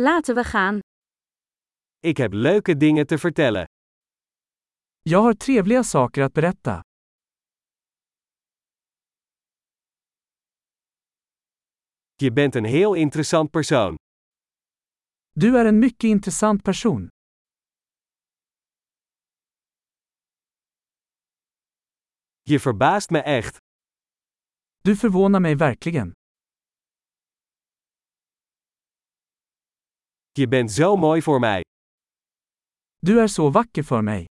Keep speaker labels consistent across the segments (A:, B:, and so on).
A: Laten we gaan.
B: Ik heb leuke dingen te vertellen.
C: Jag har trevliga saker att berätta.
B: Je bent een heel interessant persoon.
C: Du är en mycket intressant person.
B: Je verbaast me echt.
C: Du förvånar mig verkligen.
B: Je bent zo mooi voor mij.
C: Du är så vacker för mig.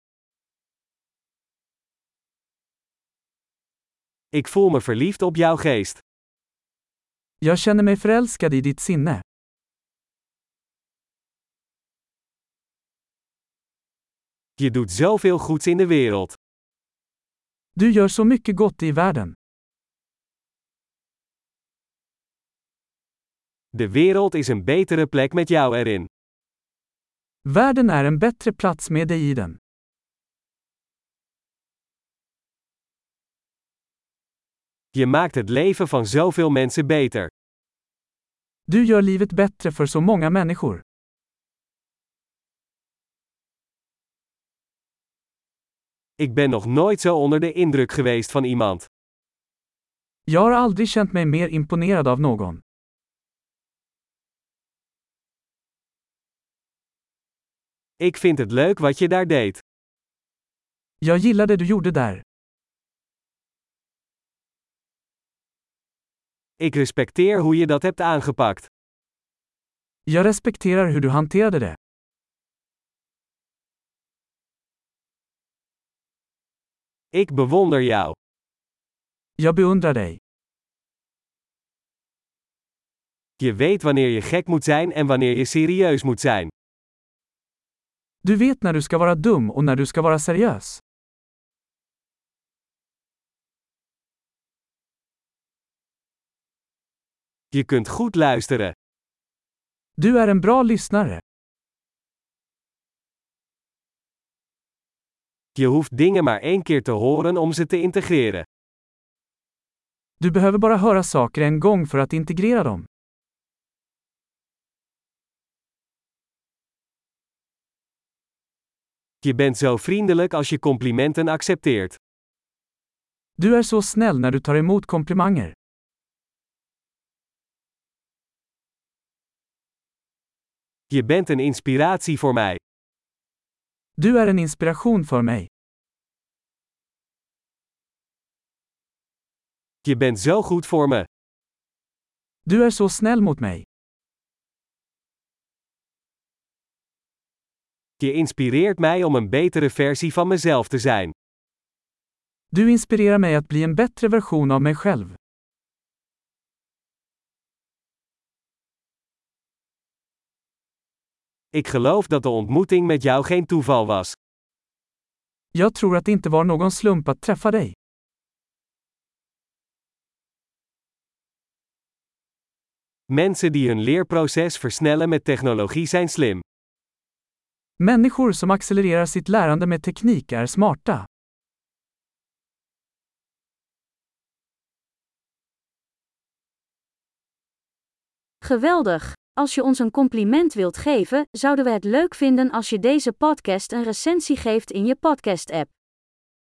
B: Ik voel me verliefd op jouw geest.
C: Jag känner mig förälskad i ditt sinne.
B: Je doet zoveel goeds in de wereld.
C: Du gör så mycket gott i världen.
B: De wereld is een betere plek met jou erin.
C: Världen är en bättre plats med dig i den.
B: Je maakt het leven van zoveel mensen beter.
C: Du gör livet bättre för så många människor.
B: Ik ben nog nooit zo onder de indruk geweest van iemand.
C: Jag har aldrig känt mig mer imponerad av någon.
B: Ik vind het leuk wat je daar deed.
C: Jag gillar det du gjorde där.
B: Ik respecteer hoe je dat hebt aangepakt.
C: Jag respekterar hur du hanterade det.
B: Ik bewonder jou.
C: Jag beundrar dig.
B: Je weet wanneer je gek moet zijn en wanneer je serieus moet zijn.
C: Du vet när du ska vara dum och när du ska vara seriös.
B: Je kunt goed luisteren.
C: Du är en bra lyssnare.
B: Je hoeft dingen maar één keer te horen om ze te integreren.
C: Du behöver bara höra saker en gång för att integrera dem.
B: Je bent zo vriendelijk als je complimenten accepteert.
C: Du är så snäll när du tar emot komplimanger.
B: Je bent een inspiratie voor mij.
C: Du är en inspiration för mig.
B: Je bent zo goed voor me.
C: Du är så snäll mot mig.
B: Je inspireert mij om een betere versie van mezelf te zijn.
C: Du inspirerar mig att bli en bättre version av mig själv.
B: Ik geloof dat de ontmoeting met jou geen toeval was.
C: Jag tror att det inte var någon slump att träffa dig.
B: Mensen die hun leerproces versnellen met technologie zijn slim.
C: Människor som accelererar sitt lärande med teknik är smarta.
A: Geweldig! Als je ons een compliment wilt geven, zouden we het leuk vinden als je deze podcast een recensie geeft in je podcast-app.